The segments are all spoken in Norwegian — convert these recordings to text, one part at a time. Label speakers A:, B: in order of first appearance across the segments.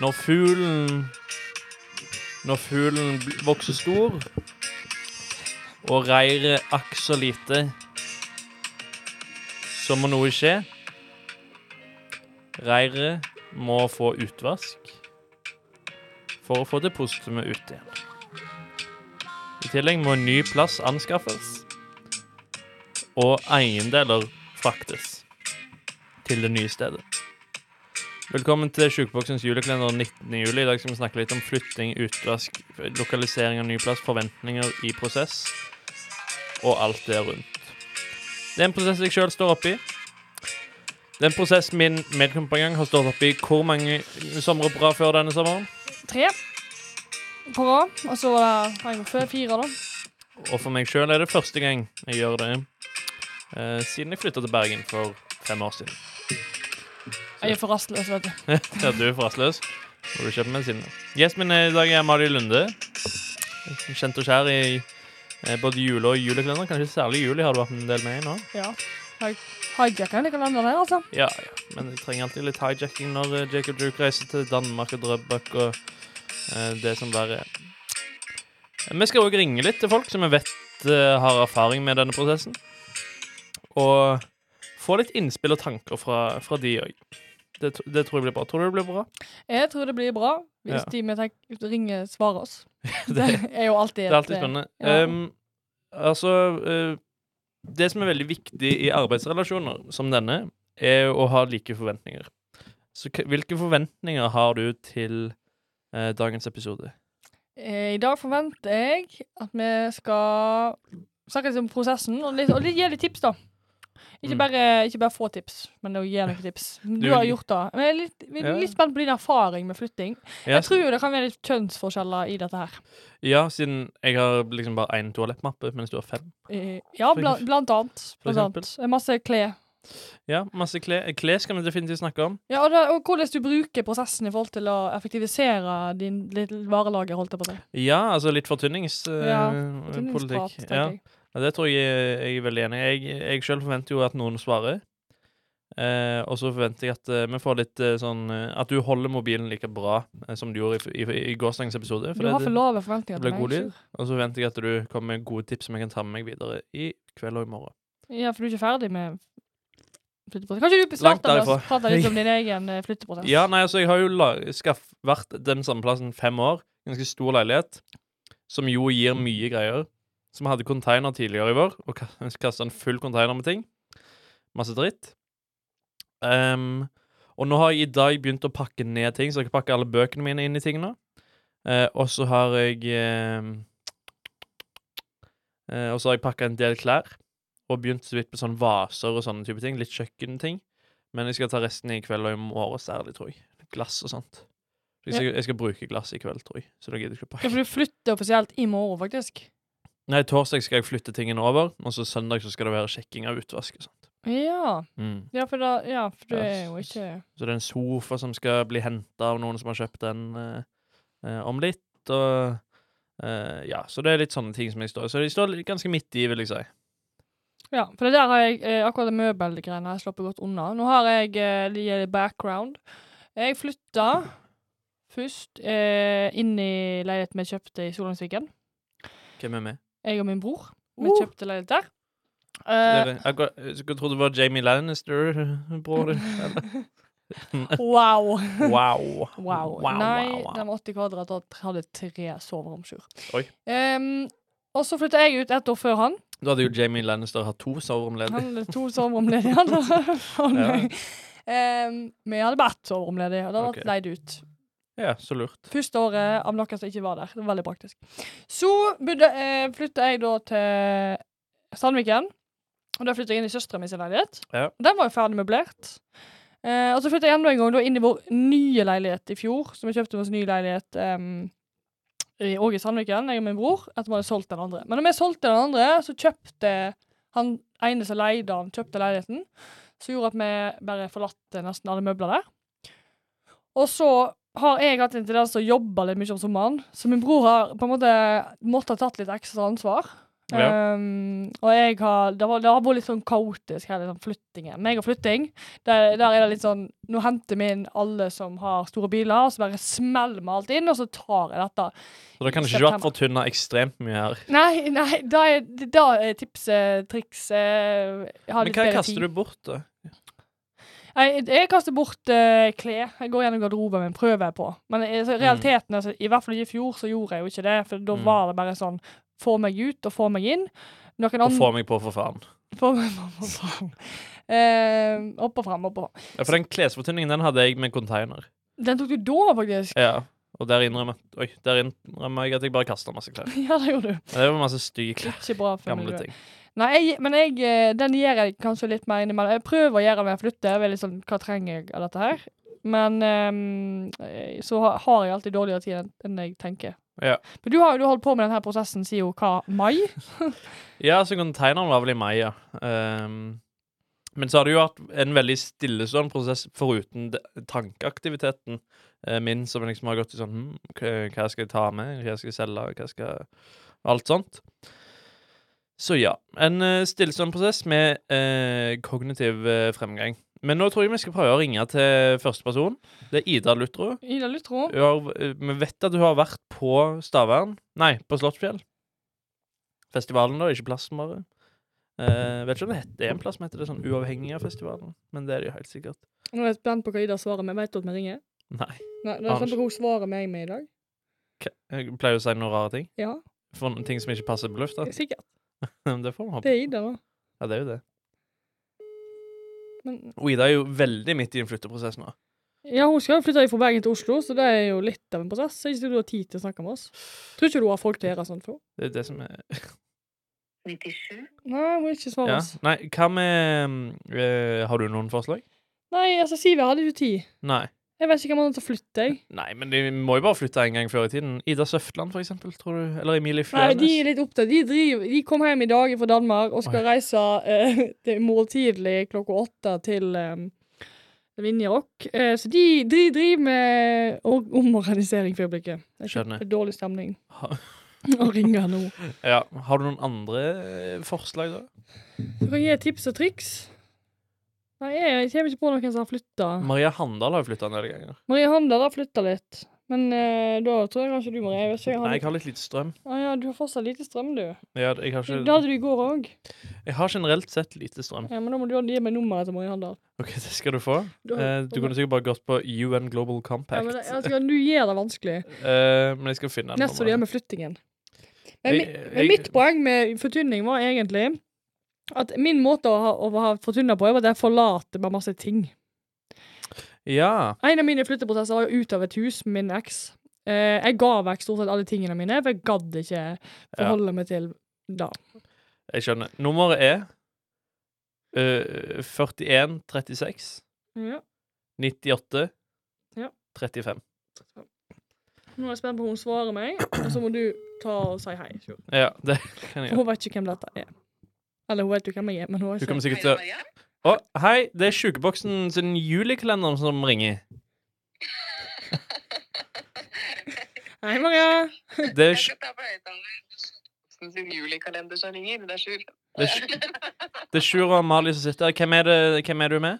A: Når fuglen Når fuglen bl- vokser stor og reiret akk så lite, så må noe skje. Reiret må få utvask for å få det postumet ut igjen. I tillegg må en ny plass anskaffes og eiendeler fraktes til det nye stedet. Velkommen til Sjukeboksens julekalender 19. juli. I dag skal vi snakke litt om flytting, utvask, lokalisering av ny plass, forventninger i prosess og alt det rundt. Det er en prosess jeg sjøl står oppi. Det er en prosess min medkompanjong har stått oppi hvor mange somre på rad før denne sommeren.
B: Tre på rad. Og så var det en gang før. Fire, da.
A: Og for meg sjøl er det første gang jeg gjør det eh, siden jeg flytta til Bergen for fem år siden.
B: Jeg er for rastløs, vet du.
A: Ja, du er for rastløs. Må du kjøpe medisiner. Gjesten min i dag er Amalie Lunde. Kjent og kjær i eh, både jule- og julekalender. Kanskje særlig juli har du vært en del med i nå.
B: Ja. Jeg hijacka en kalender der, altså.
A: Ja, ja. Men jeg trenger alltid litt hijacking når eh, Jacob Duke reiser til Danmark og Drøbak og eh, det som verre er. Vi skal òg ringe litt til folk som vi vet eh, har erfaring med denne prosessen. Og få litt innspill og tanker fra, fra de òg. Det, tr- det tror jeg blir bra. Tror du det blir bra?
B: Jeg tror det blir bra hvis
A: Ja.
B: de vi tenker ringer, svarer oss. Det
A: Det-
B: er jo alltid eh,
A: Det er alltid spennende.
B: Ja.
A: Ehm, altså eh, Det som er veldig viktig i arbeidsrelasjoner som denne, er å ha like forventninger. Så k- hvilke forventninger har du til eh, dagens episode?
B: Eh, I dag forventer jeg at vi skal snakke litt om prosessen, og, litt, og litt, gi litt tips, da. Ikke
A: Mm.
B: bare, ikke bare få tips, men å gi noen tips. Du
A: Du-
B: har gjort det. Men jeg er litt, vi er
A: Ja.
B: litt spent på din erfaring med flytting.
A: Ja,
B: Jeg tror jo det kan være litt kjønnsforskjeller i dette her.
A: ja siden jeg har liksom bare én toalettmappe, mens du har fem.
B: Eh, Ja,
A: For
B: blant,
A: eksempel-
B: blant annet.
A: for
B: Blant annet. Eh, Masse klær.
A: Ja, masse klær. Klær skal vi definitivt snakke om.
B: Ja, og, da, og hvordan du bruker prosessen i forhold til å effektivisere din lille varelager, holdt jeg på å si.
A: Ja, altså litt fortynningspolitikk.
B: Ja,
A: politikk.
B: Fortynningsprat,
A: ja.
B: tenker jeg.
A: Ja, det tror jeg jeg er veldig enig i. Jeg, jeg sjøl forventer jo at noen svarer. Eh, og så forventer jeg at eh, vi får litt eh, sånn eh, At du holder mobilen like bra eh, som du gjorde i, i, i gårsdagens episode.
B: Du har
A: det-
B: for lave forventninger
A: det blir god
B: til
A: lyd.
B: meg.
A: og så forventer jeg at du kommer med gode tips som jeg kan ta med meg videre i kveld og i morgen.
B: Ja, for du er ikke ferdig med flytteprosessen. Kanskje du
A: Langt
B: starter med å
A: derifra.
B: prate litt om din egen eh, flytteprosess?
A: Ja, nei, altså, jeg har jo la skaff, vært den samme plassen fem år. Ganske stor leilighet. Som jo gir mye greier. Som hadde container tidligere i vår, og kasta en full container med ting. Masse dritt. Ehm, og nå har jeg i dag begynt å pakke ned ting, så jeg pakker alle bøkene mine inn i tingene. Eh, og så har jeg ehm, eh, Og så har jeg pakka en del klær. Og begynt så vidt med sånn vaser og sånne type ting. Litt kjøkkenting. Men jeg skal ta resten i kveld og i morgen særlig, tror jeg. Glass og sånt. Jeg skal, jeg skal bruke glass i kveld, tror jeg. Så da gidder jeg ikke å pakke.
B: Ja, for du flytter offisielt i morgen, faktisk.
A: Nei, torsdag skal jeg flytte tingene over, og så søndag så skal det være sjekking av utvask og sånt. Mm.
B: Ja, ja, for, da, ja, for du
A: Ja,
B: er jo
A: s-
B: ikke
A: Så det er en sofa som skal bli henta av noen som har kjøpt den eh, eh, om litt, og eh, Ja, så det er litt sånne ting som jeg står Så jeg står litt- ganske midt i, vil jeg si.
B: Ja, for det der har jeg eh, akkurat det møbelgreiene har jeg sluppet godt unna. Nå har jeg eh, litt background. Jeg flytta først eh, inn i leiligheten vi kjøpte i Solangsviken.
A: Hvem er med?
B: Jeg og min bror. Vi
A: Uh.
B: kjøpte leilighet der.
A: Så
B: Eh,
A: dere- akkurat- Jeg skulle tro det var Jamie Lannister, eh, bror din. eller?
B: wow.
A: Wow.
B: Wow. Nei, den var 80 kvadrat og hadde tre soverom. sjur.
A: Oi.
B: Ehm, og så flytta jeg ut ett år før han.
A: Da hadde jo Jamie Lannister hatt to soverom ledig.
B: Han hadde to soverom ledig. Han da. For
A: Ja.
B: meg. Ehm, vi hadde bare ett soverom ledig, og det var
A: Ok.
B: leid ut.
A: Ja, så lurt.
B: Første året av noen som ikke var der. Det var veldig praktisk. Så bodde, eh, flytta jeg da til Sandviken. Og da flytta jeg inn i søstera mi sin leilighet.
A: Ja.
B: Den var jo ferdig møblert. Eh, og så flytta jeg enda en gang da inn i vår nye leilighet i fjor, som vi kjøpte oss ny leilighet ehm, em, i- òg i Sandviken, jeg og min bror, etter at vi hadde solgt den andre. Men når vi solgte den andre, så kjøpte han ene som leide den, kjøpte leiligheten. Som gjorde at vi bare forlatte nesten alle møbler der. Og så har jeg hatt en tendens til å jobbe litt mye om sommeren, så min bror har på en måte måttet ha tatt litt ekstra ansvar.
A: Ja.
B: Um, og jeg har det, var, det har vært litt sånn kaotisk her, liksom, flyttingen. Meg og flytting, der, der er det litt sånn Nå henter vi inn alle som har store biler, og så bare smeller vi alt inn, og så tar jeg dette.
A: Så det kan ikke vært fortynna ekstremt mye her.
B: Nei, nei, da er, da er tipset, trikset eh, ha
A: Men
B: litt
A: hva
B: bedre tid.
A: kaster du bort, da?
B: Jeg, jeg kaster bort eh, klær. Jeg går gjennom garderoben min, prøver jeg på. Men eh, så realiteten er så- i hvert fall i fjor så gjorde jeg jo ikke det, for da
A: Mm.
B: var det bare sånn få meg ut og få meg inn. Noen
A: Og få
B: andre
A: meg på, for faen.
B: Få meg opp og fram. Eh, opp og fram, opp og fram.
A: Ja, For den klesfortynningen den hadde jeg med container.
B: Den tok du da, faktisk.
A: Ja, Og der innrømmer, oi, der innrømmer jeg at jeg bare kasta masse klær.
B: Ja, det gjorde du.
A: Men Det var masse stygge klær.
B: Ikke bra for
A: Gamle
B: miljøet.
A: ting.
B: Nei, jeg, men jeg, eh, den gjør jeg kanskje litt mer innimellom. Jeg prøver å gjøre når jeg flytter. Jeg er litt sånn, Hva trenger jeg av dette her? Men ehm, eh, så ha- har jeg alltid dårligere tid enn- enn jeg tenker.
A: Ja.
B: Men du har jo du har holdt på med denne prosessen siden jo hva, mai?
A: Ja, så containeren var vel i mai, ja. Ehm, men så har det jo vært en veldig stillestående prosess foruten de- tankeaktiviteten eh, min, som liksom har gått i sånn hm, k- Hva skal jeg ta med? Hva skal jeg selge? Hva skal jeg Alt sånt. Så ja. En eh, stillestående prosess med eh, kognitiv eh, fremgang. Men nå tror jeg vi skal prøve å ringe til første person. Det er Ida Lutro.
B: Ida Lutro?
A: Hun har, eh, vi vet at hun har vært på Stavern Nei, på Slottsfjell. Festivalen, da. Ikke plassen, bare. Eh, vet ikke om det, heter, det er en plass som heter det sånn uavhengig av festivalen, men det er det jo helt sikkert.
B: Nå er jeg spent på hva Ida svarer med. Vet du at vi ringer?
A: Nei.
B: Nei,
A: er spent på
B: hva hun svarer meg med i dag.
A: K- Jeg pleier å si noen rare ting.
B: Ja,
A: For noen ting som ikke passer på lufta.
B: sikkert.
A: Men det får vi
B: Det
A: håpe.
B: er Ida, da.
A: Ja, det er jo det.
B: Men,
A: Og Ida er jo veldig midt i en flytteprosess nå.
B: ja, hun skal jo flytte fra Bergen til Oslo, så det er jo litt av en prosess. Jeg tror du har tid til å snakke med oss. Tror ikke du har folk til å gjøre sånt for.
A: Det er det som er
C: 97.
B: Nei, hun vil ikke svare
A: Ja.
B: oss.
A: Nei, hva med mm, eh, Har du noen forslag?
B: Nei, altså, Sivert hadde ikke tid.
A: Nei.
B: Jeg vet ikke hvem han har til å flytte, jeg.
A: Nei, men de må jo bare flytte en gang før i tiden. Ida Søftland, for eksempel, tror du? Eller Emilie
B: Nei,
A: Fjørnes?
B: de er litt opptatt. De, driver, de kom hjem i dag fra Danmark og skal reise eh, til måltidlig klokka åtte til eh, Vinjerock. Eh, så de, de driver med or- omorganisering for øyeblikket. Det er ikke-
A: Skjønner.
B: det er Dårlig stemning
A: Ha-
B: å ringe nå.
A: Ja, Har du noen andre eh, forslag, da?
B: Du kan gi tips og triks. Nei, jeg kommer ikke på noen som har flytta.
A: Maria Handal har jo flytta en del ganger.
B: Marie Handel har flytta litt. Men eh, da tror jeg kanskje du, Marie. Jeg vet ikke, jeg har
A: Nei,
B: litt...
A: jeg har litt lite strøm.
B: ah, ja, du har fortsatt lite strøm, du.
A: Jeg har, jeg, har
B: Det
A: ikke,
B: hadde du i går òg.
A: jeg har generelt sett lite strøm.
B: Ja, men da må du gi meg nummeret til Marie Handel.
A: OK, det skal du få.
B: Du har-
A: Eh, du kunne sikkert bare gått på UN Global
B: Ja, men
A: Compact.
B: det- altså, du gjør det vanskelig.
A: Eh, men jeg skal finne en
B: Nest hva du gjør med flyttingen. Men,
A: Jeg-
B: mi-
A: jeg-
B: men mitt poeng med fortynning var egentlig at min måte å ha, å ha fortynna på, er at jeg forlater meg masse ting.
A: Ja.
B: En av mine flytteprosesser var jo ut av et hus med min eks. Eh, jeg ga vekk stort sett alle tingene mine, for jeg gadd ikke forholde meg til da.
A: Jeg skjønner. Nummeret er eh, 41 36
B: Ja.
A: 98
B: Ja.
A: 35.
B: Nå er jeg spent på om hun svarer meg, og så må du ta og si hei.
A: Ja, det kan jeg gjøre.
B: For hun vet ikke hvem dette er. Eller hun vet jo hvem jeg er, men hun har
A: Du
B: ikke
A: kommer sikkert til å
C: Maria.
A: Å, hei, det er sjukeboksen sin julekalenderen som ringer.
B: Hei, Maria!
A: Det er,
C: Jeg
A: sj-
C: skal ta på høyttaleren. Sånn Sin julekalender som ringer. Det er Sjur.
A: det er, sj- det er Sjur og Amalie som sitter her. Hvem er, det, hvem er du med?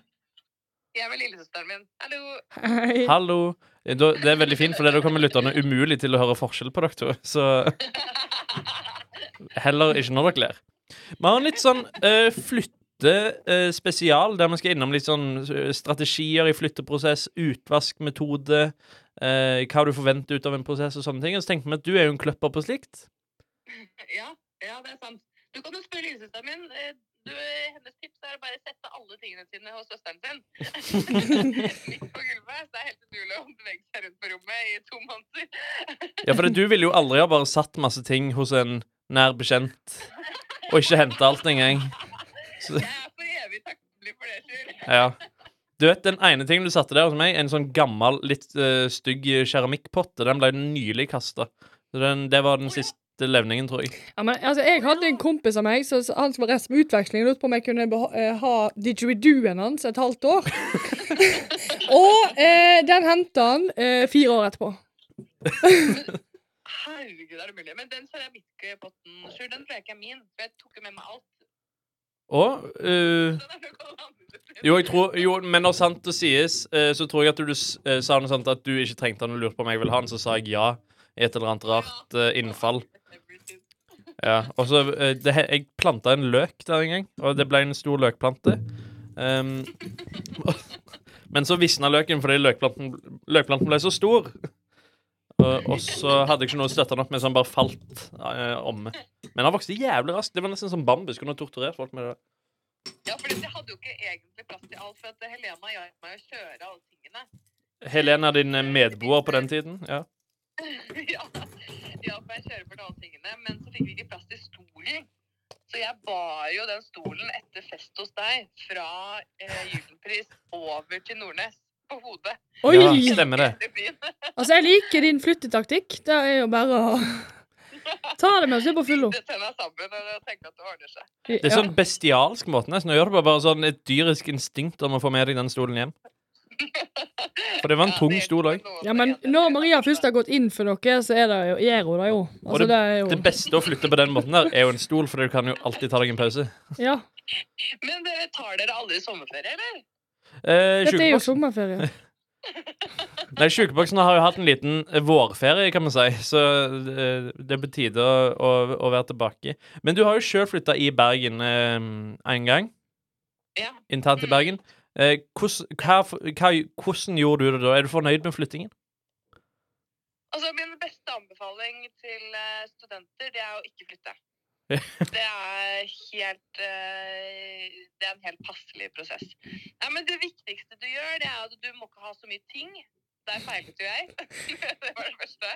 C: Jeg er med lillesøsteren min. Hallo.
B: Hei.
A: Hallo. Eh, da- Det er veldig fint, for da kommer lytterne umulig til å høre forskjell på dere to. Så heller ikke når dere ler. Vi har en litt sånn eh, flyttespesial, der vi skal innom litt sånn eh, strategier i flytteprosess, utvaskmetode, eh, hva du forventer ut av en prosess og sånne ting. Og så tenkte vi at du er jo en kløpper på slikt.
C: Ja, ja, det er sant. Du kan jo spørre lillesøsteren min. Eh, Du, eh, hennes tips er å bare sette alle tingene sine hos søsteren sin. Midt på gulvet. Så det er helt utrolig om du legger seg rundt på rommet i to måneder.
A: Ja, for det, du ville jo aldri ha bare satt masse ting hos en nær bekjent, og ikke hente alt engang. Så-
C: Jeg er for evig takknemlig for det, Sjur.
A: Ja. Du vet den ene tingen du satte der hos meg, en sånn gammel, litt eh, stygg keramikkpotte, den ble nylig kasta. Det var den siste levningen, tror jeg.
B: Ja, men, altså, jeg hadde en kompis av meg så, så han som var resten med utveksling. Lurte på om jeg kunne beha- eh, ha didgeridooen hans et halvt år. og eh, den henta han eh, fire år etterpå.
C: herregud, er det mulig? Men den keramikkpotten, Sjur, den tror jeg ikke er min. For jeg tok jo med meg alt.
A: Og eh,
C: Den er nok alle andres.
A: Jo, jeg tror, jo, men når sant det sies, eh, så tror jeg at du s- eh, sa noe sånt at du ikke trengte han og lurte på om jeg ville ha han, så sa jeg ja i et eller annet rart eh, innfall.
C: Everything.
A: Ja, og så eh, det, he- Jeg planta en løk der en gang, og det ble en stor løkplante. Ehm, men så visna løken fordi løkplanten, løkplanten ble så stor. Og, og så hadde jeg ikke noe å støtte den opp med, så han bare falt eh, omme. Men han vokste jævlig raskt. Det var nesten som bambus. Kunne torturert folk med det.
C: Ja, for jeg hadde jo ikke egentlig plass til alt, for at Helena hjalp meg å kjøre alle tingene.
A: Helene er din eh, medboer på den tiden. Ja.
C: ja, ja, for jeg kjører bort alle tingene, men så fikk vi ikke plass til stolen. Så jeg bar jo den stolen etter fest hos deg fra eh, Julenpris over til Nordnes på hodet.
B: Oi!
A: Ja, stemmer det.
C: i byen.
B: Altså, jeg liker din flyttetaktikk. Det er jo bare å ta det med oss på fullo.
C: Det tenner sammen og tenker at det ordner seg.
A: Det er sånn bestialsk måte nesten å gjøre det på. Bare sånn et dyrisk instinkt om å få med deg den stolen hjem. For det var en tung stol òg.
B: Ja, men når Maria først har gått inn for noe, så er det jo gjør hun det jo.
A: Og
B: Altså, det er
A: Det
B: jo
A: beste å flytte på den måten der er jo en stol, for du kan jo alltid ta deg en pause.
B: Ja.
C: Men dere tar dere aldri sommerferie, eller?
A: Eh,
B: Dette er jo
A: sjukeboksen-
B: sommerferie.
A: Nei, Sjukeboksen har jo hatt en liten eh, vårferie, kan man si, så eh, det er på tide å, å, å være tilbake. Men du har jo sjøl flytta i Bergen eh, en gang,
C: Ja.
A: internt i Bergen. Eh, hvordan, hva, hva, hvordan gjorde du det da? Er du fornøyd med flyttingen?
C: Altså, min beste anbefaling til eh, studenter, det er å ikke flytte. Det er helt eh, Det er en helt passelig prosess. Nei, men det viktigste du gjør, det er at du må ikke ha så mye ting. Der feilet jo jeg. det var det første.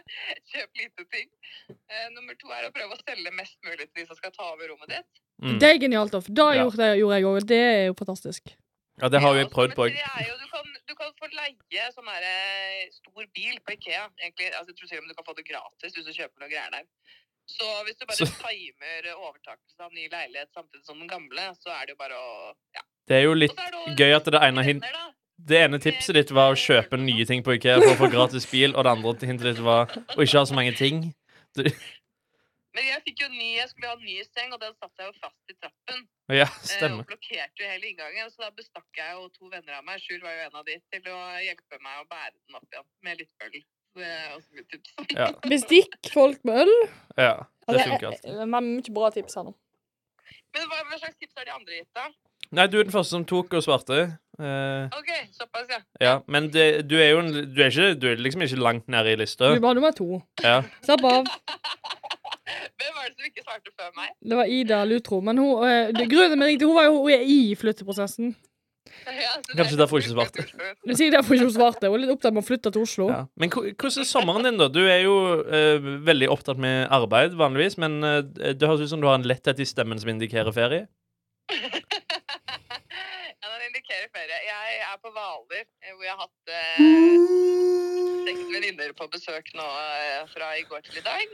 C: Kjøp lite ting. Eh, nummer to er å prøve å selge mest mulig til de som skal ta over rommet ditt.
A: Mm.
B: Det er genialt. Alf. Det
A: Ja.
B: gjorde jeg- gjorde jeg òg. Det er jo fantastisk.
A: Ja, det har jo jeg
C: Ja,
A: prøvd
C: nummer
A: på.
C: tre er jo, Du kan, du kan få leie sånn her, eh, stor bil på Ikea. Egentlig, altså, jeg tror selv om du kan få det gratis hvis du kjøper noe greier der. Så hvis du bare
A: Så-
C: timer overtakelse av ny leilighet samtidig som den gamle, så er det jo bare å ja.
A: Det er jo
C: Og
A: litt
C: så er det å-
A: gøy at det ene hin-
C: Venner, da.
A: Det ene tipset ditt var å kjøpe nye ting på IKEA for å få gratis bil, og det andre hintet ditt var å ikke ha så mange ting.
C: Men jeg fikk jo ny, jeg skulle ha en ny seng, og den satt jeg jo fast i trappen.
A: Ja,
C: eh,
A: stemmer.
C: Og blokkerte jo hele inngangen, så da bestakk jeg jo to venner av meg, Sjur var jo en av de, til å hjelpe meg å bære den opp igjen med litt øl. eh, Det er også mitt tips.
A: Ja,
B: Bestikk folk med øl.
A: ja det
B: Altså,
A: funker
B: jeg-
A: alltid.
B: jeg- men Mye bra tips her nå.
C: Men hva, hva slags tips har de andre gitt, da?
A: Nei, du er den første som tok og svarte. Eh,
C: OK, såpass, ja.
A: ja, men det, du er jo en, du er, ikke, du er liksom ikke langt nede i lista.
B: Du var nummer to.
A: Ja.
B: Slapp av.
C: Hvem var det som ikke svarte før meg?
B: Det var Ida Lutro. Men hun, eh, det- grunnen til at jeg ringte, hun var jo hun er i flytteprosessen.
C: Ja, så det er
A: Kanskje derfor ikke
C: Ulrikke
A: svarte.
C: Thorstvedt.
B: Det sier derfor ikke hun svarte. Hun er litt opptatt med å flytte til Oslo.
A: Ja. Men hvor- hvordan er sommeren din, da? Du er jo eh, veldig opptatt med arbeid vanligvis, men eh, det høres ut som du har en letthet i stemmen som indikerer ferie.
C: Ja, den indikerer ferie. Jeg er på Hvaler, eh, hvor jeg har hatt eh, seks venninner på besøk nå eh, fra i går til i dag.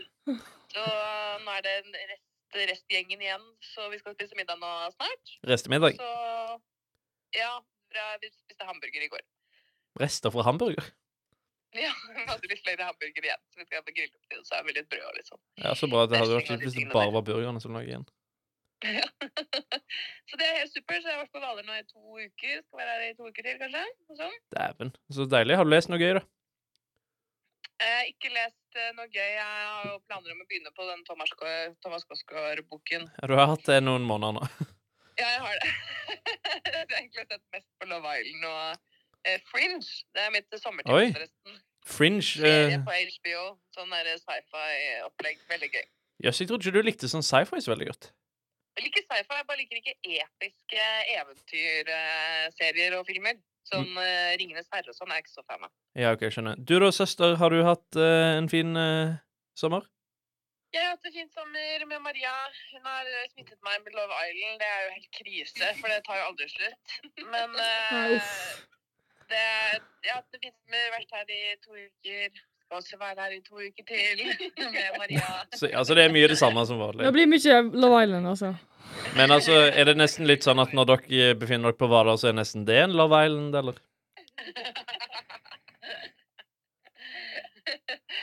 C: Så eh, nå er det en rest, restgjengen igjen, så vi skal spise middag nå snart.
A: Restemiddag.
C: Så ja, fra- vi spiste hamburger i går.
A: Rester fra hamburger.
C: Ja, vi hadde litt flere hamburger igjen, så vi skal grille opp til det, så er vi litt brød og litt sånn.
A: Ja, Så bra. Det hadde vært litt hvis det bare var burgerne som lå igjen.
C: Så det er helt super, så jeg har vært på Hvaler nå i to uker. Skal være her i to uker til, kanskje? sånn. Noe sånt.
A: Dæven. Så deilig. Har du lest noe gøy, da?
C: Jeg har ikke lest eh, noe gøy. Jeg har jo planer om å begynne på den Thomas, K- Thomas Kosgaard-boken.
A: Ja, Du har hatt det noen måneder nå.
C: Ja, jeg har det. jeg har egentlig sett mest på Love Island og eh, Fringe. Det er mitt
A: Oi.
C: sommertips, forresten.
A: Fringe eh,
C: Serie på HBO. Sånn der sci-fi-opplegg. Veldig gøy.
A: Jøss, jeg trodde ikke du likte sånn sci-fi så veldig godt.
C: Jeg liker sci-fi, jeg bare liker ikke episke eventyrserier og filmer. Sånn eh, Ringenes herre og sånn er jeg ikke så fan av.
A: Ja, ok, skjønner. Du da, søster, har du hatt eh, en fin eh, sommer?
C: Jeg har hatt en fin sommer med Maria. Hun har eh, smittet meg med Love Island. Det er jo helt krise, for det tar jo aldri slutt. Men
B: Nei,
C: eh,
B: uff.
C: det, jeg har hatt det fint med vært her i to uker. Skal også være her i to uker til med Maria.
A: Så, altså, det er mye det samme som vanlig.
B: Det blir mye Love Island, altså.
A: Men altså, er det nesten litt sånn at når dere befinner dere på Hvaler, så er nesten det en Love Island, eller?
C: Nei,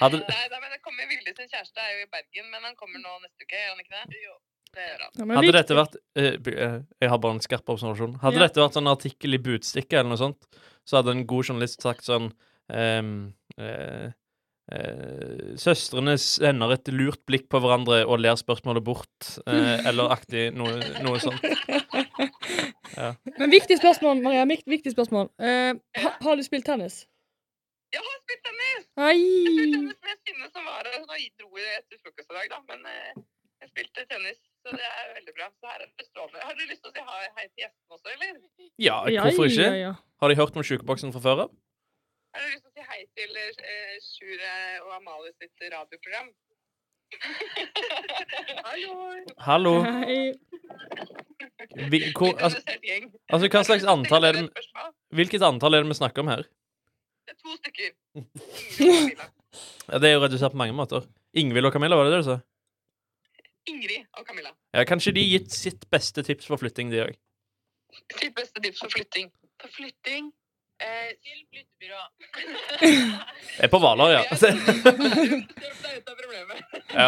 A: Hadde,
C: nei, men det kommer villig sin kjæreste er jo i Bergen, men han kommer nå neste uke, gjør han ikke det? Jo, det gjør han.
B: Ja, men
A: Hadde
B: viktig.
A: dette vært eh, b- eh, Jeg har bare en skarp observasjon. Hadde
B: Ja.
A: dette vært sånn artikkel i Budstikka eller noe sånt, så hadde en god journalist sagt sånn ehm, eh, eh, Søstrene sender et lurt blikk på hverandre og ler spørsmålet bort, eh, eller aktig noe, noe sånt.
B: Men viktig spørsmål, Maria. Vikt, viktig spørsmål. Eh, ha, har du spilt tennis?
C: Jeg har spilt tennis! Jeg spilte
B: Nei!
C: tennis med Synne som var her. Nå dro jeg etter frokost i dag, da, men eh, jeg spilte tennis. Så det er veldig bra. Så her er det strålende. Har du lyst til å si hei hei til gjestene også, eller?
A: Ja,
B: Ja,
A: hvorfor
B: ja,
A: ikke?
B: ja.
A: Har de hørt om sjukeboksen fra før av?
C: Har du lyst til å si hei til eh, Sjure og Amalie sitt radioprogram? Hallo!
A: Hallo.
B: Nei.
A: Vi, hvor, altså,
C: Interessert gjeng.
A: altså, hva slags antall er det
C: Et spørsmål.
A: Hvilket antall er det vi snakker om her?
C: Det er to stykker. Ingrid og Camilla.
A: Ja, det er jo redusert på mange måter. Ingvild og Camilla, var det det du sa?
C: Ingrid og Camilla.
A: Ja, kanskje de gitt sitt beste tips for flytting, de òg.
C: Si beste tips for flytting. For flytting eh, til flyttebyrå.
A: Er på Hvaler,
C: Jeg
A: ja.
C: tror det er Bærum. Hjelp deg ut av problemet.
A: Ja.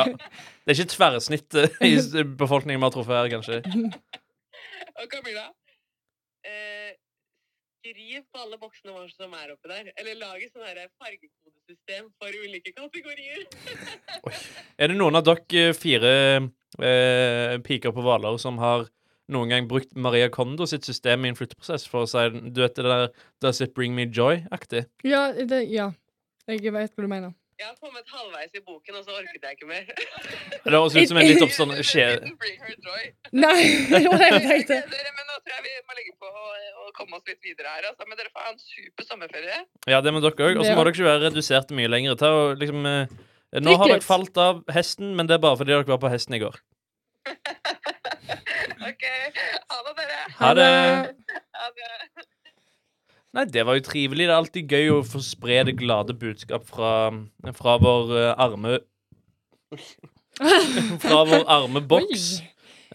A: Det er ikke tverrsnittet i s- befolkningen vi har truffet her, kanskje.
C: Og Camilla? Eh, skriv på alle boksene våre som er oppi der. Eller lag et sånn her fargekodesystem for ulike kategorier.
A: Er det noen av dere fire eh, piker på Hvaler som har noen gang brukt Maria Kondo sitt system i en flytteprosess for å si du vet det der Does it bring me joy-aktig?
B: Ja, det, ja. Jeg vet hva du mener.
C: Jeg har kommet halvveis i boken, og så orket jeg ikke mer.
A: Det høres ut som en litt oppstående skje...
C: Bring her joy.
B: Nei! Det var det jeg tenkte.
C: Dere, men nå tror jeg vi må legge på og, og komme oss litt videre her. Altså. Men dere får ha en super sommerferie.
A: Ja, det må dere òg. Og så
B: Ja.
A: må dere ikke være redusert mye lenger. Ta og liksom eh, Nå
B: Drikk
A: har
B: litt.
A: dere falt av hesten, men det er bare fordi dere var på hesten i går.
C: Ok, Ha det, dere.
A: Ha det!
C: Ha det.
A: Nei, det var jo trivelig. Det er alltid gøy å få spre det glade budskap fra, fra vår eh, arme Fra vår arme boks
B: Oi.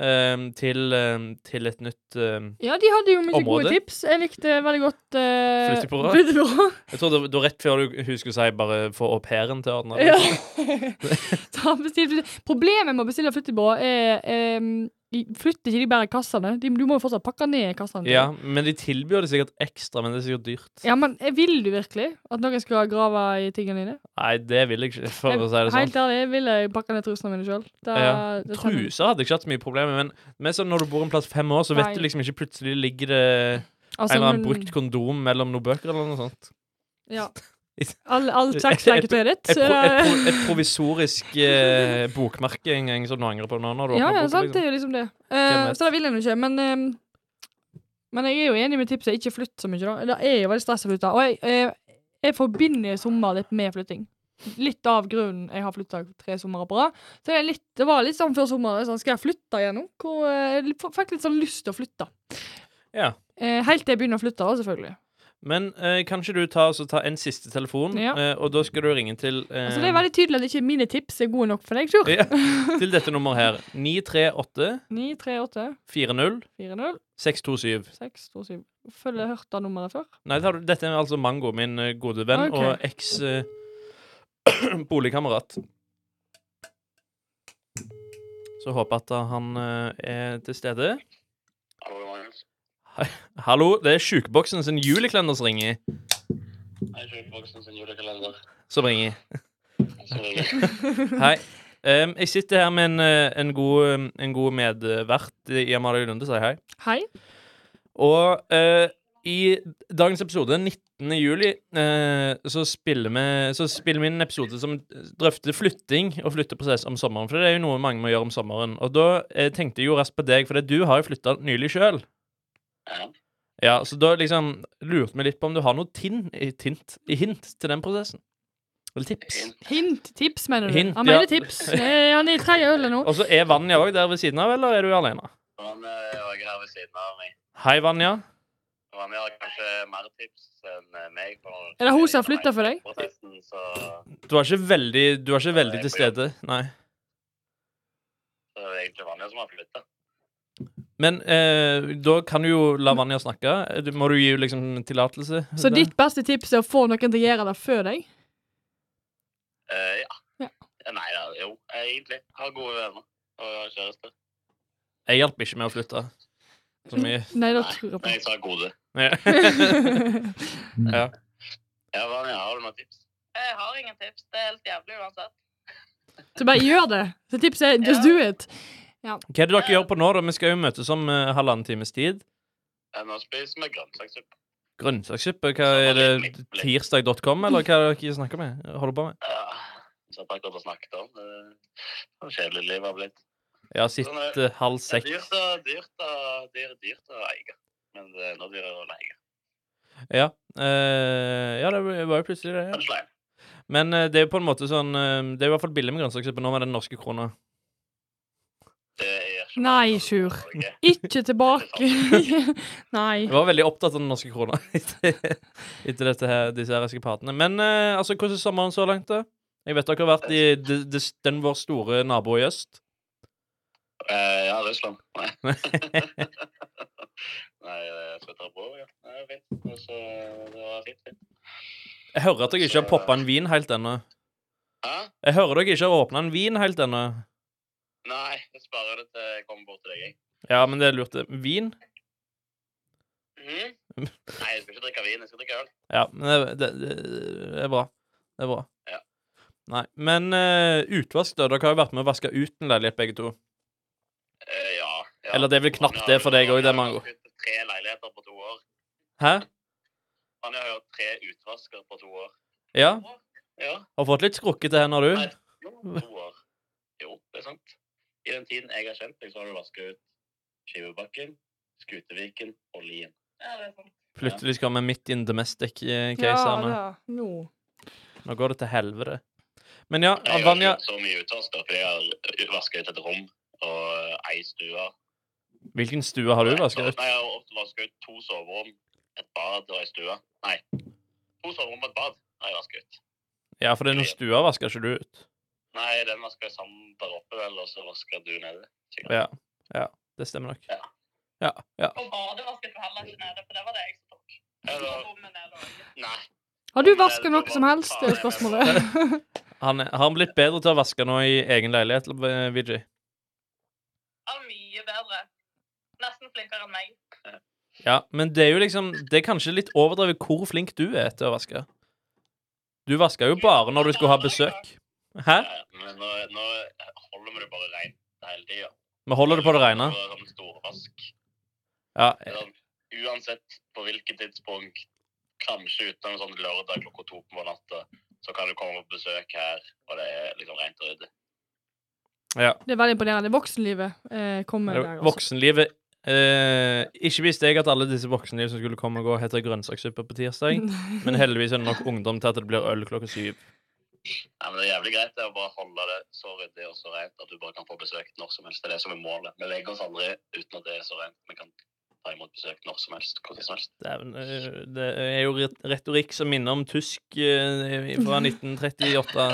A: eh, til, eh, til et nytt eh,
B: Ja, de hadde jo mye
A: Område.
B: gode tips. Jeg likte veldig godt uh,
A: Flyttebyrå. Jeg tror det var rett før du hun skulle si bare få au pairen til å ordne det.
B: Ja. Ta bestill, flytte- Problemet med å bestille flyttebyrå er em, de flytter ikke de bare kassene. De, du må jo fortsatt pakke ned kassene. til
A: Ja,
B: dem.
A: men de tilbyr det sikkert ekstra, men det er sikkert dyrt.
B: ja, men eh, Vil du virkelig at noen skal grave i tingene dine?
A: Nei, det vil jeg ikke, for
B: Jeg-
A: å si det sånn.
B: Helt ærlig, jeg ville pakke ned trusene mine sjøl.
A: Ja. Truser hadde jeg ikke hatt så mye problemer med, men mer sånn når du bor en plass fem år, så vet
B: Nei.
A: du liksom ikke plutselig ligger det
B: Altså,
A: en eller annen brukt kondom mellom noen bøker eller noe sånt.
B: Ja. All, all sex
A: Et-
B: like to edit.
A: Et, pro, et,
B: Ja,
A: pro, et provisorisk eh, bokmerke en gang som du angrer på nå når du åpner
B: ja,
A: boka,
B: sant.
A: liksom.
B: Det er jo liksom det. Eh,
A: Hvem vet?
B: så det vil en jo ikke. Men, eh, men jeg er jo enig med tipset. Ikke flytt så mye, da. Det er jo veldig stress å flytte. Og jeg, eh, jeg forbinder sommer litt med flytting. Litt av grunnen jeg har flytta tre somre på rad. Så det, er litt, det var litt sånn før sommeren. Sånn, skal jeg flytte igjen nå? Hvor, eh, jeg fikk litt sånn lyst til å flytte.
A: Ja.
B: Eh, helt til jeg begynner å flytte, da, selvfølgelig.
A: Men eh, kan ikke du ta, så ta en siste telefon,
B: Ja.
A: eh, og da skal du ringe til eh,
B: Altså, det er veldig tydelig at ikke mine tips er gode nok for deg, Sjur.
A: ja, Til dette nummeret her. 938
B: 9, 3, 8,
A: 40
B: 4, 0,
A: 627.
B: 6, 2, 7. Følger jeg hørt av nummeret før?
A: Nei, det har du- dette er altså Mango, min eh, gode venn
B: Ok.
A: og eks eh, boligkamerat. Så håper jeg at han eh, er til stede.
D: Hallo, Magnus.
A: Hallo, det er Sjukeboksen sin julekalender som ringer.
D: Jeg kjøper boksen sin julekalender.
A: Som ringer.
D: Så ringer.
A: Hei. Em, jeg sitter her med en, eh, en, god, en god medvert i Amalie Lunde, sier hei.
B: Hei.
A: Og eh, i dagens episode, 19. juli, eh, så, spiller vi, så spiller vi inn en episode som drøfter flytting og flytteprosess om sommeren. For det er jo noe mange må gjøre om sommeren. Og da eh, tenkte jeg jo raskt på deg, for du har jo flytta nylig sjøl.
D: Ja.
A: Ja, så da liksom lurte vi litt på om du har noe tin, i- tint, i hint til den prosessen. Eller tips.
D: Hint.
B: Hint? Tips, mener du?
A: Hint,
B: han mener
A: ja.
B: tips. Eh, han er i tredje ølet nå.
A: Og så er Vanja òg der ved siden av, eller er du alene?
D: Han eh, er også her ved siden av meg.
A: Hei, Vanja.
D: Han har kanskje mer tips enn
C: eh,
D: meg. På
B: Er det hun som har flyttet for deg?
D: Prosessen, så,
A: Du er ikke veldig, du er ikke veldig til stede. Nei.
D: så er det egentlig Vanja som har flyttet.
A: Men eh, da kan du jo la Vanja snakke. Du, må du gi liksom tillatelse?
B: Så ditt beste tips er å få noen til å gjøre det før deg?
D: Eh, ja.
B: Ja.
C: Nei da, jo, egentlig. Har gode venner og kjæreste.
A: Jeg hjalp ikke med å flytte. Så mye.
B: Nei, da
C: Nei,
B: tror jeg
C: Nei, jeg sa gode.
B: på.
A: ja.
C: Ja, hva med- har du noen tips?
E: Jeg har ingen tips. Det er helt jævlig uansett.
B: Så bare gjør det. Så tipset er just
E: Ja.
B: do it.
A: Hva er det dere gjør på nå, da? Vi skal jo møtes om eh, halvannen times tid.
C: Eh, Nå spiser vi grønnsakssuppe.
A: Grønnsakssuppe? eh, Hva er det tirsdag.com, eller hva er det dere snakker med? Holder på med?
C: Ja, Satt akkurat og snakket om eh, hvor kjedelig livet har blitt.
A: Ja, sitte halv
C: Sånn, Det er
A: seks.
C: dyrt, å- dyrt, å- det er dyrt å eie, men eh, det er enda dyrere å leie.
A: Ja. Eh, ja, det var jo plutselig det. Ja.
C: Kanskje leie.
A: Men eh, det er jo på en måte sånn eh, Det er i hvert fall billig med grønnsakssuppe nå med den norske krona.
C: Det er ikke
B: Nei,
C: mange
B: Sjur.
C: som gjør det.
B: Ikke tilbake. Nei.
A: Jeg var veldig opptatt av den norske krona etter dette her, disse her eskapatene. Men eh, altså, hvordan er sommeren så langt, da? Jeg vet dere har vært i de, de, den vår store nabo i øst.
C: Eh, Ja, Russland. Nei.
A: ja,
C: Nei, jeg skal ta på, ja. Nei, det er fint. Og så, det var fint, fint.
A: Jeg hører at dere ikke har poppa en vin helt ennå.
C: Hæ?
A: Jeg hører dere ikke har åpna en vin helt ennå.
C: Nei, jeg sparer det til jeg kommer bort til deg, jeg.
A: Ja, men det er lurt. det. Vin?
C: Mhm. Nei, jeg skal ikke drikke vin, jeg skal drikke øl.
A: Ja, men det, det, det er bra. Det er bra.
C: Ja.
A: Nei, men eh, utvask, da. Dere har jo vært med å vaske ut en leilighet, begge to.
C: Eh, ja, ja.
A: Eller det er vel knapt det for deg òg, det, Mango.
C: Han har jo tre leiligheter på to år.
A: Hæ?
C: Han har jo tre utvasker på to år.
A: Ja?
C: Ja,
A: Har fått litt skrukkete hender, du?
C: Nei. jo, to år. Jo, det er sant. I den tiden jeg har kjent deg, så har du vasket ut Skivebakken, Skuteviken og Lien.
E: Ja, det er sant.
A: Plutselig skal vi midt in eh, domestic-casene.
B: Ja, det. Nå.
A: Nå går det til helvete. Men ja,
C: Jeg har ikke
A: Vanja
C: gjort så mye utvasker, for jeg har vasket ut et rom og ei stue.
A: Hvilken stue har du vasket?
C: Nei, jeg har ofte vasket ut to soverom, et bad og ei stue. Nei, to soverom og et bad har jeg vasket ut.
A: Ja, for den stua vasker ikke du ut.
C: Nei, den vasket jeg sammen der oppe vel, og så vasket du nede. sikkert.
A: Ja. ja det stemmer nok.
C: Ja.
A: Ja. ja.
E: Og badet vasket du heller ikke nede, for det var det jeg som tok.
C: Eller,
E: Rommet nede også.
C: nei,
B: Har du vaska noe som helst? Det er spørsmålet.
A: Han, er- har han blitt bedre til å vaske nå i egen leilighet, eller, eh, Vijay?
E: Ja, mye bedre. Nesten flinkere enn meg.
A: Ja, men det er jo liksom Det er kanskje litt overdrevet hvor flink du er til å vaske. Du vaska jo bare når du skulle ha besøk. Hæ?
C: nei, men nå, nå holder vi det bare rent hele tiden.
A: Vi holder det på det rene.
C: Det var sånn storvask.
A: Ja.
C: Det er sånn,
A: Eh.
C: Uansett på hvilket tidspunkt, kanskje utenom sånn lørdag klokka to på natta, så kan du komme på besøk her, og det er liksom rent og ryddig.
B: Det er veldig imponerende. Voksenlivet eh, kommer der. Altså.
A: Voksenlivet eh, Ikke visste jeg at alle disse voksenliv som skulle komme og gå, heter grønnsakssuppe på tirsdag. Men heldigvis er det nok ungdom til at det blir øl klokka syv.
C: Nei, men Det er jævlig greit det å bare holde det så ryddig og så rent at du bare kan få besøk når som helst. Det er det som er målet. Vi legger oss aldri uten at det er så rent. Vi kan ta imot besøk når som helst. Hvordan som helst.
A: Dæven, eh, det er jo ret- retorikk som minner om tysk eh, fra 1938.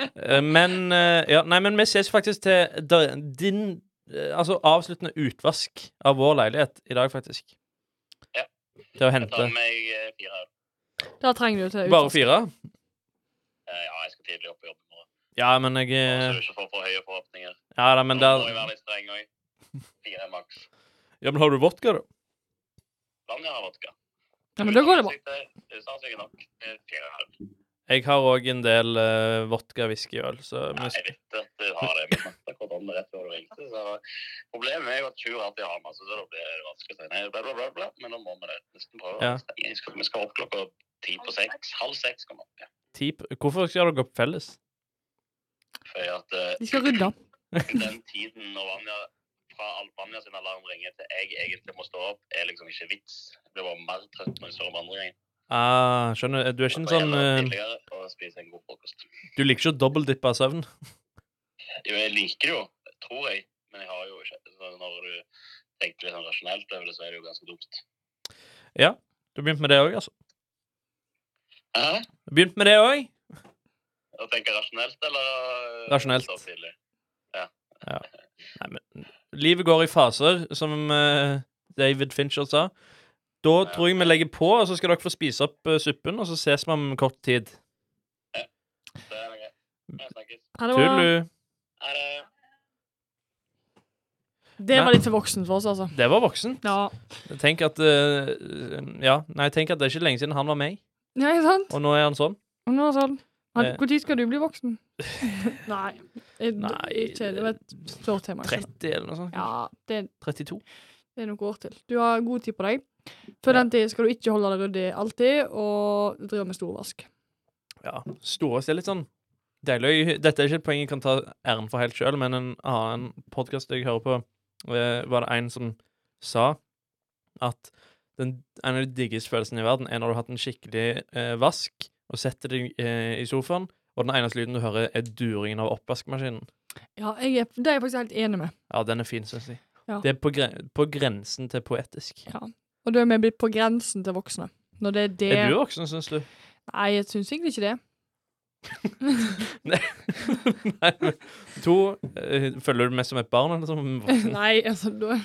A: Eh, Men eh, Ja, nei, men vi ses faktisk til der- din eh, Altså avsluttende utvask av vår leilighet i dag, faktisk.
C: Ja.
A: Til å
C: Jeg tar
A: hente.
C: med meg eh, fire øl.
B: Da trenger du til
A: Bare fire?
C: Eh, Ja, jeg skal tidlig opp på jobb i morgen.
A: Ja, men jeg
C: Så
A: eh,
C: du ikke får for høye forhåpninger.
A: Ja da, men
C: Nå må
A: der
C: jeg være litt streng òg. Fire maks.
A: Ja, men har du vodka, da?
C: Vanja har vodka.
B: Ja, men da går det bra.
C: Usannsynlig nok. eh, Fire øl.
A: Jeg har òg en del eh, vodka, whisky og øl, så
C: Nei, jeg
A: vi-
C: vet at du har det. Vi snakket akkurat om det rett før du ringte. Så problemet er jo at Sjur alltid har masse, så da blir det vanskelig å si nei. Bla, bla, bla, bla. Men da må vi det. Nesten prøve.
A: Ja.
C: Vi skal- Vi skal opp klokka ti på seks. Halv seks kommer vi opp.
A: ti p- Hvorfor skal dere opp felles?
C: Fordi at eh,
B: De skal rydde.
C: den tiden når Vanja fra al- Vanja sin alarm ringer til jeg egentlig må stå opp, er liksom ikke vits. Jeg blir bare mer trøtt når jeg står om andre gangen.
A: Ah, skjønner. Du er ikke en
C: Og så
A: sånn
C: gjelder det
A: eh,
C: tidligere å spise en god frokost.
A: Du liker ikke å dobbeltdippe av søvn?
C: Jo, jeg liker det jo, tror jeg. Men jeg har jo ikke så Når du tenker litt sånn rasjonelt over det, så er det jo ganske dumt.
A: Du begynte med det òg, altså?
C: Hæ?
A: Du begynte med det òg?
C: Å tenke rasjonelt, eller øh,
A: Rasjonelt.
C: stå tidlig?
A: Nei, men Livet går i faser, som eh, David Fincher sa. Da tror jeg vi legger på, og så skal dere få spise opp eh, suppen, og så ses vi om kort tid.
C: Det er greit.
D: Jeg snakkes.
B: Ja, det, var,
A: Tullu.
D: Ha det.
B: det var litt for voksent for oss, altså.
A: Det var voksen.
B: Ja,
A: Tenk at eh, Ja, nei, tenk at det er ikke lenge siden han var meg,
B: ja ikke sant?
A: og nå er han sånn.
B: Og nå er det sånn
A: Eh.
B: Når skal du bli voksen? Nei. eh,
A: Nei,
B: Ikke, det var et stort tema. jeg skjønner.
A: 30 eller noe sånt.
B: Ja, det,
A: 32.
B: det er noen år til. Du har god tid på deg. Før den tid skal du ikke holde deg ryddig alltid, og drive med storvask.
A: Ja. Storest er litt sånn deilig. Dette er ikke et poeng jeg kan ta æren for helt sjøl, men en annen podkast jeg hører på, eh, var det en som sa at den, en av de diggeste følelsene i verden er når du har hatt en skikkelig eh, vask og setter deg eh, i sofaen, og den eneste lyden du hører, er duringen av oppvaskmaskinen.
B: Ja, jeg er, det er jeg faktisk helt enig med.
A: Ja, den er fin, syns jeg.
B: Ja.
A: Det er på, gre på grensen til poetisk.
B: Ja. Og da er vi blitt på grensen til voksne. Når det er det
A: Er du voksen, syns du?
B: Nei, jeg syns egentlig ikke det.
A: Nei, men to eh, Følger du meg som et barn eller som en voksen?
B: Nei, altså, da,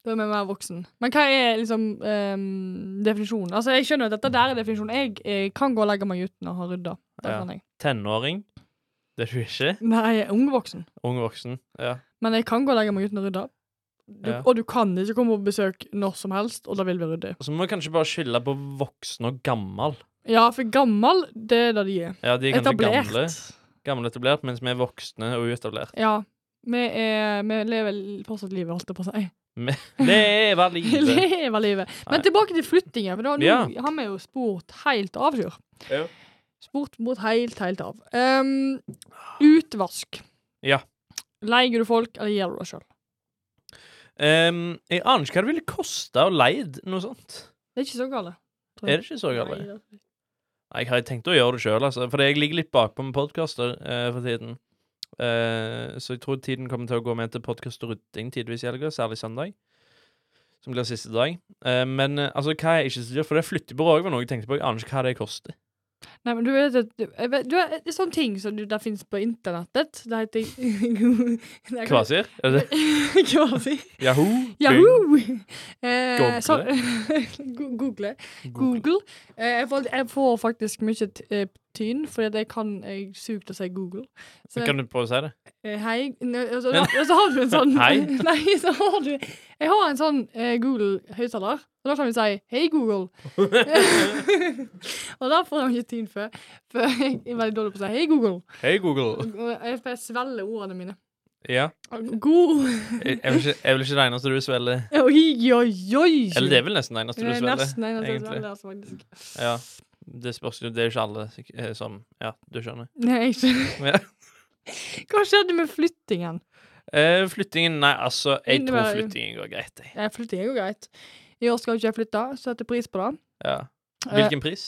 B: da er vi mer voksen. Men hva er liksom ehm, definisjonen? Altså, Jeg skjønner at dette der er definisjonen. Jeg, eh, kan gå og legge meg uten å ha rydda. Det
A: Ja.
B: kan jeg.
A: Tenåring? Det er du ikke.
B: Nei, jeg er ung voksen.
A: Ung voksen. Ja.
B: Men jeg kan gå og legge meg uten å rydde. Du,
A: Ja.
B: Og du kan ikke komme på besøk når som helst, og da vil vi rydde.
A: Og så må vi kanskje bare skille på voksen og gammel.
B: Ja, for gammal, det er det de er.
A: Ja, de er kanskje
B: Etablert.
A: gamle, gamle etablert, mens vi er voksne og uetablert.
B: Ja. Vi, er, vi lever l- fortsatt livet, holdt jeg på å si.
A: Leve livet!
B: Lever livet.
A: Nei.
B: Men tilbake til flyttingen, for da nå
A: Ja.
B: har vi jo spurt helt av, Sjur.
A: Ja.
B: Spurt mot helt, helt av. Ehm, utvask.
A: Ja.
B: Leier du folk, eller gjør du det sjøl?
A: Ehm, jeg aner ikke hva det ville koste å leid noe sånt.
B: Det er ikke så galt.
A: Er det ikke så galt?
B: Nei, det er-
A: Nei, Jeg har tenkt å gjøre det sjøl, altså. For jeg ligger litt bakpå med podkaster eh, for tiden. Eh, så jeg tror tiden kommer til å gå med til podkast og rydding tidvis i helga, særlig søndag. Som blir siste dag. Eh, men eh, altså, hva er ikke så dyrt? For det flyttebyrået òg var noe jeg tenkte på. Jeg aner ikke hva det koster.
B: Nei, men du vet at du, jeg vet- du, er- Det er sånne ting som du, der finnes på internettet. Det heter Nei, hva-
A: Kvasir? Er det
B: Kvasi.
A: Yahoo?
B: Yahoo! Eh,
A: Google.
B: så- Go- Google.
A: Bing, Google.
B: Google. Eh, jeg, får, jeg får faktisk mye t eh, tyn, fordi at jeg kan eh, Jeg suger til å si Google. Så
A: Kan du prøve å si det?
B: eh, hei ne, og, så, og så har du en sånn
A: Hei.
B: Nei, så har du Jeg har en sånn eh, Google-høyttaler, og da kan vi si 'Hei, Google'. og da får jeg ikke tyn for, for jeg er veldig dårlig på å si 'Hei, Google'.
A: Hei, Google.
B: Og jeg får svelge ordene mine.
A: Ja.
B: God
A: Jeg, jeg, vil ikke, jeg vil ikke det eneste du svelger.
B: Oi, oi, oi!
A: Eller det er vel nesten det eneste du
B: Nei,
A: svelger.
B: nesten, nei, nesten,
A: egentlig.
B: svelger, altså, faktisk.
A: Ja. Det spørs jo. Det er jo ikke alle eh, som Ja, du skjønner.
B: Nei, jeg skjønner.
A: Ja.
B: Hva skjedde med flyttingen?
A: Eh, flyttingen Nei, altså, jeg tror
B: Innebærer-
A: flyttingen går greit. Jeg.
B: Ja, Flytting er jo greit. I år skal jo ikke jeg flytte, så jeg setter pris på det.
A: Ja.
B: Eh,
A: Hvilken pris?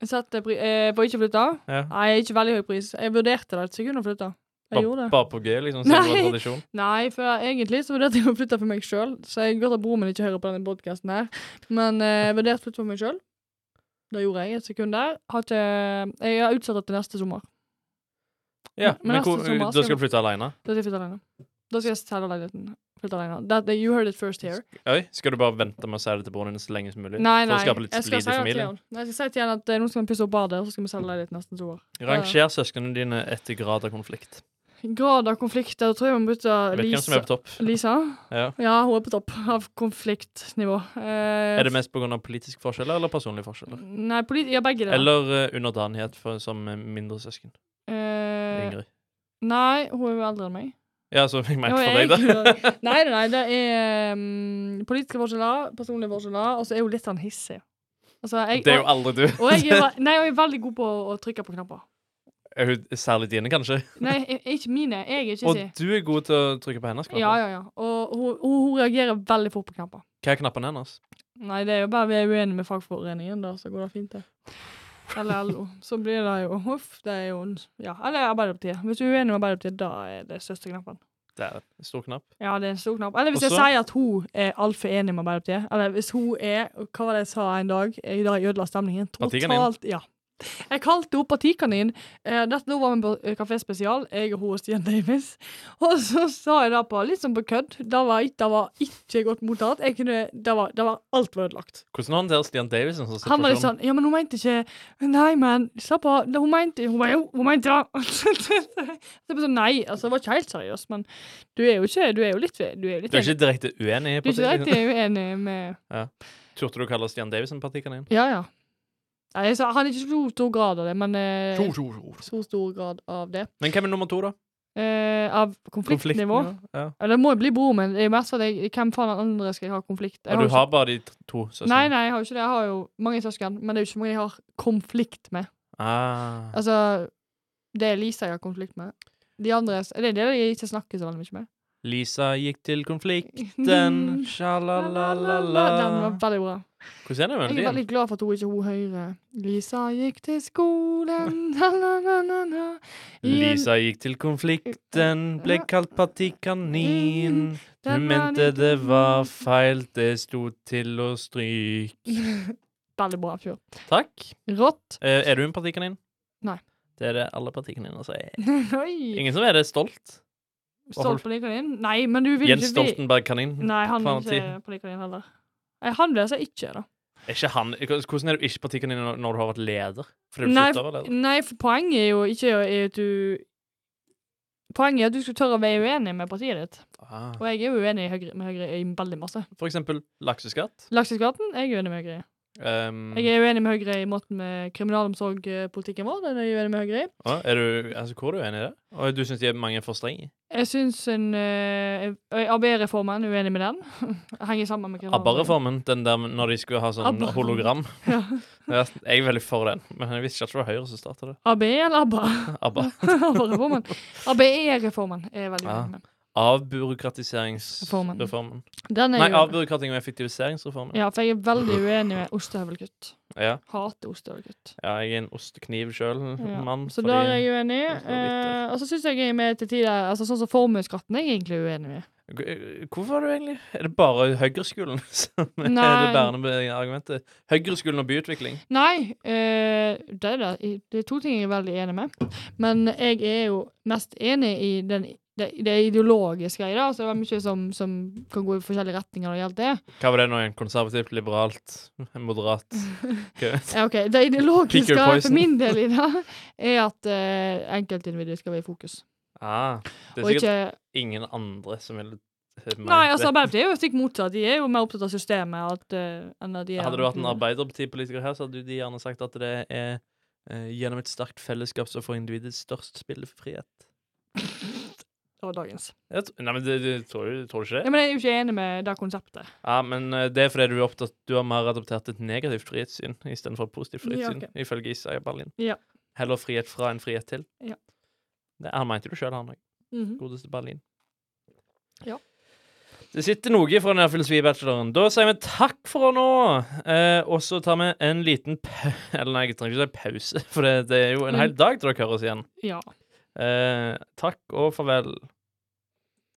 B: Jeg setter pri eh, på ikke flytte?
A: Ja.
B: Nei, ikke veldig høy pris. Jeg vurderte det et sekund å flytte. Jeg gjorde
A: Bare,
B: det.
A: bare på G, liksom? Siden det var
B: Nei.
A: tradisjon?
B: Nei, for egentlig så vurderte jeg å flytte for meg sjøl, så jeg er godt at broren min ikke hører på denne podkasten her, men eh, jeg vurderte å flytte for meg sjøl. Det gjorde jeg et sekund der. Har ikke eh, Jeg har utsatt det til neste sommer.
A: Ja,
B: Men
A: men
B: neste
A: hvor,
B: sommer
A: da skal
B: skal vi-
A: du flytte alene?
B: Da skal jeg flytte alene. Da skal jeg selge leiligheten. Flytte alene. That, you heard it first here.
A: Oi, skal du bare vente med å si det til broren din så lenge som mulig?
B: Nei,
A: For
B: nei.
A: å skape litt
B: Jeg skal
A: splid
B: si
A: i
B: det til
A: familien?
B: han. Nei, Jeg skal si til han at eh, nå skal vi pusse opp badet, og så skal vi selge leiligheten neste sommer.
A: Ranger søsknene dine etter grad av konflikt.
B: grad av konflikt Da tror jeg man bytter
A: Jeg vet ikke hvem som
B: Lisa.
A: er på topp.
B: Lisa?
A: Ja.
B: Ja, hun er på topp av konfliktnivå. Eh,
A: Er det mest pga. politiske forskjeller eller personlige forskjeller?
B: Nei, polit ja, begge deler.
A: Eller eh, underdanighet for, som eh, mindre søsken?
B: Eh,
A: Ingrid.
B: nei, hun er jo eldre enn meg.
A: Ja, så jeg mente
B: Ja,
A: for deg,
B: jeg-
A: da.
B: nei, nei, nei, det er mm, politiske forskjeller, personlige forskjeller, og så er hun litt sånn hissig. Altså, jeg,
A: Det er jo aldri du.
B: og, og jeg er, ve- nei, jeg er veldig god på å, å trykke på knapper.
A: Er hun Særlig dine, kanskje.
B: Nei, jeg, jeg- ikke mine. Jeg er ikke
A: Og
B: hissig.
A: du er god til å trykke på hennes knapper.
B: Ja, ja, ja. Og hun, hun, hun reagerer veldig fort på knapper.
A: Hva er knappene hennes?
B: Nei, det er jo bare vi er uenige med fagforeningen, da, så går det fint, det. Eller LO. Så blir det jo Huff, det er jo en- Ja, eller Arbeiderpartiet. Hvis du er uenig med Arbeiderpartiet, da er det største knappen.
A: Det er en stor knapp.
B: Ja, det er en stor knapp. Eller hvis
A: Og så-
B: jeg sier at hun er altfor enig med Arbeiderpartiet, eller hvis hun er Hva var det jeg sa en dag? I dag ødela stemningen.
A: Partiet kan inn.
B: Totalt Ja. Jeg kalte henne partikanin. Eh, dette nå var vi på eh, Kafé Spesial, jeg og hun og Stian Davis. Og så sa jeg det på litt sånn på kødd. Det var, ikke- det var ikke godt mottatt. Jeg kunne, det var, det var alt var ødelagt.
A: Hvordan håndterer Stian Davison sånn
B: Han var litt
A: situasjon?
B: sånn Ja, men hun mente ikke Nei, men slapp av. Hun mente Hun bare jo, hun mente det. Så jeg bare sånn Nei, altså, det var ikke helt seriøst, men du er jo ikke Du er jo litt Du er jo litt
A: Du er ikke direkte uenig?
B: du er ikke direkte uenig med
A: Turte du å kalle Stian Davison partikanin?
B: Ja, ja. Nei, jeg sa, han er ikke så stor grad av det, men eh, Så stor grad av det.
A: Men hvem er nummer to, da?
B: Eh, av konfliktnivå.
A: Ja.
B: Ja, det må jo bli broren min. Det er mest for at jeg, hvem faen andre skal jeg ha konflikt jeg
A: Og du altså?
B: jo
A: har bare de t- to
B: ikke,
A: søstrene?
B: Nei, nei, jeg har jo ikke det. Jeg har jo mange søsken, men det er jo ikke så mange jeg har konflikt med.
A: Ah.
B: Altså, det er Lisa jeg har konflikt med. De andre er- Det er det jeg ikke snakker så veldig mye med.
A: Lisa gikk til konflikten,
B: Mm.
A: sjalalala
B: Den var veldig bra.
A: Hvordan er det
B: Jeg
A: med
B: er
A: melodien?
B: veldig glad for at hun ikke hun hører Lisa gikk til skolen na, na, na, na, na. I en-
A: Lisa gikk til konflikten, ble kalt partikanin. Hun
B: Den var
A: mente
B: litt-
A: det var feil, det sto til å stryke.
B: Veldig bra fyr.
A: Takk.
B: Rått.
A: Eh, Er du en partikanin?
B: Nei.
A: Det er det alle partikaniner sier.
B: Oi.
A: Ingen som er det stolt?
B: Stolt på din? Nei, men du vil
A: Jens
B: ikke bli
A: Stoltenberg-kanin?
B: Nei, han
A: Faen,
B: er ikke på din heller. Nei, han blir altså ikke, da.
A: Er ikke han Hvordan er du ikke partikanin når- når du har vært leder? Fordi du
B: Nei,
A: slutta å være leder?
B: Nei, for poenget er jo ikke er at du Poenget er at du skal tørre å være uenig med partiet ditt.
A: Ah.
B: Og jeg er jo uenig i Høyre, med Høyre i veldig masse.
A: For eksempel lakseskatt.
B: Lakseskatten jeg er uenig med Høyre i.
A: Um,
B: Jeg er uenig med Høyre i måten med kriminalomsorgpolitikken vår. Den er jeg uenig med Høyre i.
A: Å, er du, altså, hvor er du enig i det? Og du syns de er mange er for strenge?
B: Jeg syns en eh, eh, AB-reformen, uenig med den. Henger sammen med kriminalomsorgen.
A: ABBA-reformen, den der når de skulle ha sånn
B: ABBA.
A: hologram.
B: Ja.
A: Ja, jeg er veldig for den, men jeg visste ikke at det var Høyre som starta det.
B: AB eller ABBA?
A: ABBA.
B: ABBA-reformen. ABE-reformen er jeg veldig
A: Ja.
B: uenig med. Reformen.
A: Avbyråkratiseringsreformen.
B: Den
A: Nei,
B: er jeg uenig med.
A: avbyråkrating og effektiviseringsreformen.
B: Ja, for jeg er veldig uenig med ostehøvelkutt.
A: Ja.
B: Hater ostehøvelkutt.
A: ja, jeg er en ostekniv sjøl,
B: Ja.
A: mann.
B: Så
A: fordi-
B: der er jeg uenig.
A: det er bitter.
B: Eh, og så syns jeg jeg er med til tider altså Sånn som formuesskatten er jeg egentlig uenig med.
A: eh, Hvorfor er du egentlig Er det bare Høyreskolen som er
B: Nei.
A: det bærende argumentet? Høyreskolen og byutvikling.
B: Nei, eh, det, er det. I- det er to ting jeg er veldig enig med. Men jeg er jo mest enig i den, det, det ideologiske i det. Altså, det er mye som, som kan gå i forskjellige retninger når det gjelder det.
A: Hva var det nå igjen? Konservativt, liberalt, moderat? Hva vet jeg?
B: Ja, ok, Det
A: Pick your
B: ideologiske for
A: poison.
B: min del i det er at eh, enkeltindividet skal være i fokus.
A: Ah, det er
B: Og
A: sikkert
B: ikke
A: ingen andre som ville
B: Nei, altså Arbeiderpartiet er jo stikk motsatt. De er jo mer opptatt av systemet at, eh, enn at de er
A: Hadde du vært en arbeiderpartipolitiker her, så hadde du de gjerne sagt at det er eh, gjennom et sterkt fellesskap så får individet størst spillefrihet.
B: Det var dagens.
A: Jeg tr- Nei, men det, det, tror, du, tror du ikke
B: Ja,
A: det?
B: men jeg er jo ikke enig med det konseptet.
A: Ja, men eh, det er fordi du er opptatt Du har mer adoptert et negativt frihetssyn istedenfor et positivt
B: Ja,
A: frihetssyn,
B: ok.
A: ifølge Isaiah Berlin.
B: Ja.
A: Heller frihet fra enn frihet til.
B: Ja.
A: Det, han mente du sjøl, han òg.
B: Mhm.
A: Godeste Berlin.
B: Ja.
A: Det sitter noe fra denne filosofibacheloren. Da sier vi takk for nå. Eh, og så tar vi en liten pa Eller nei, jeg trenger ikke si pause, for det, det er jo en
B: Men-
A: hel dag til dere hører oss igjen.
B: Ja.
A: Eh, takk og farvel.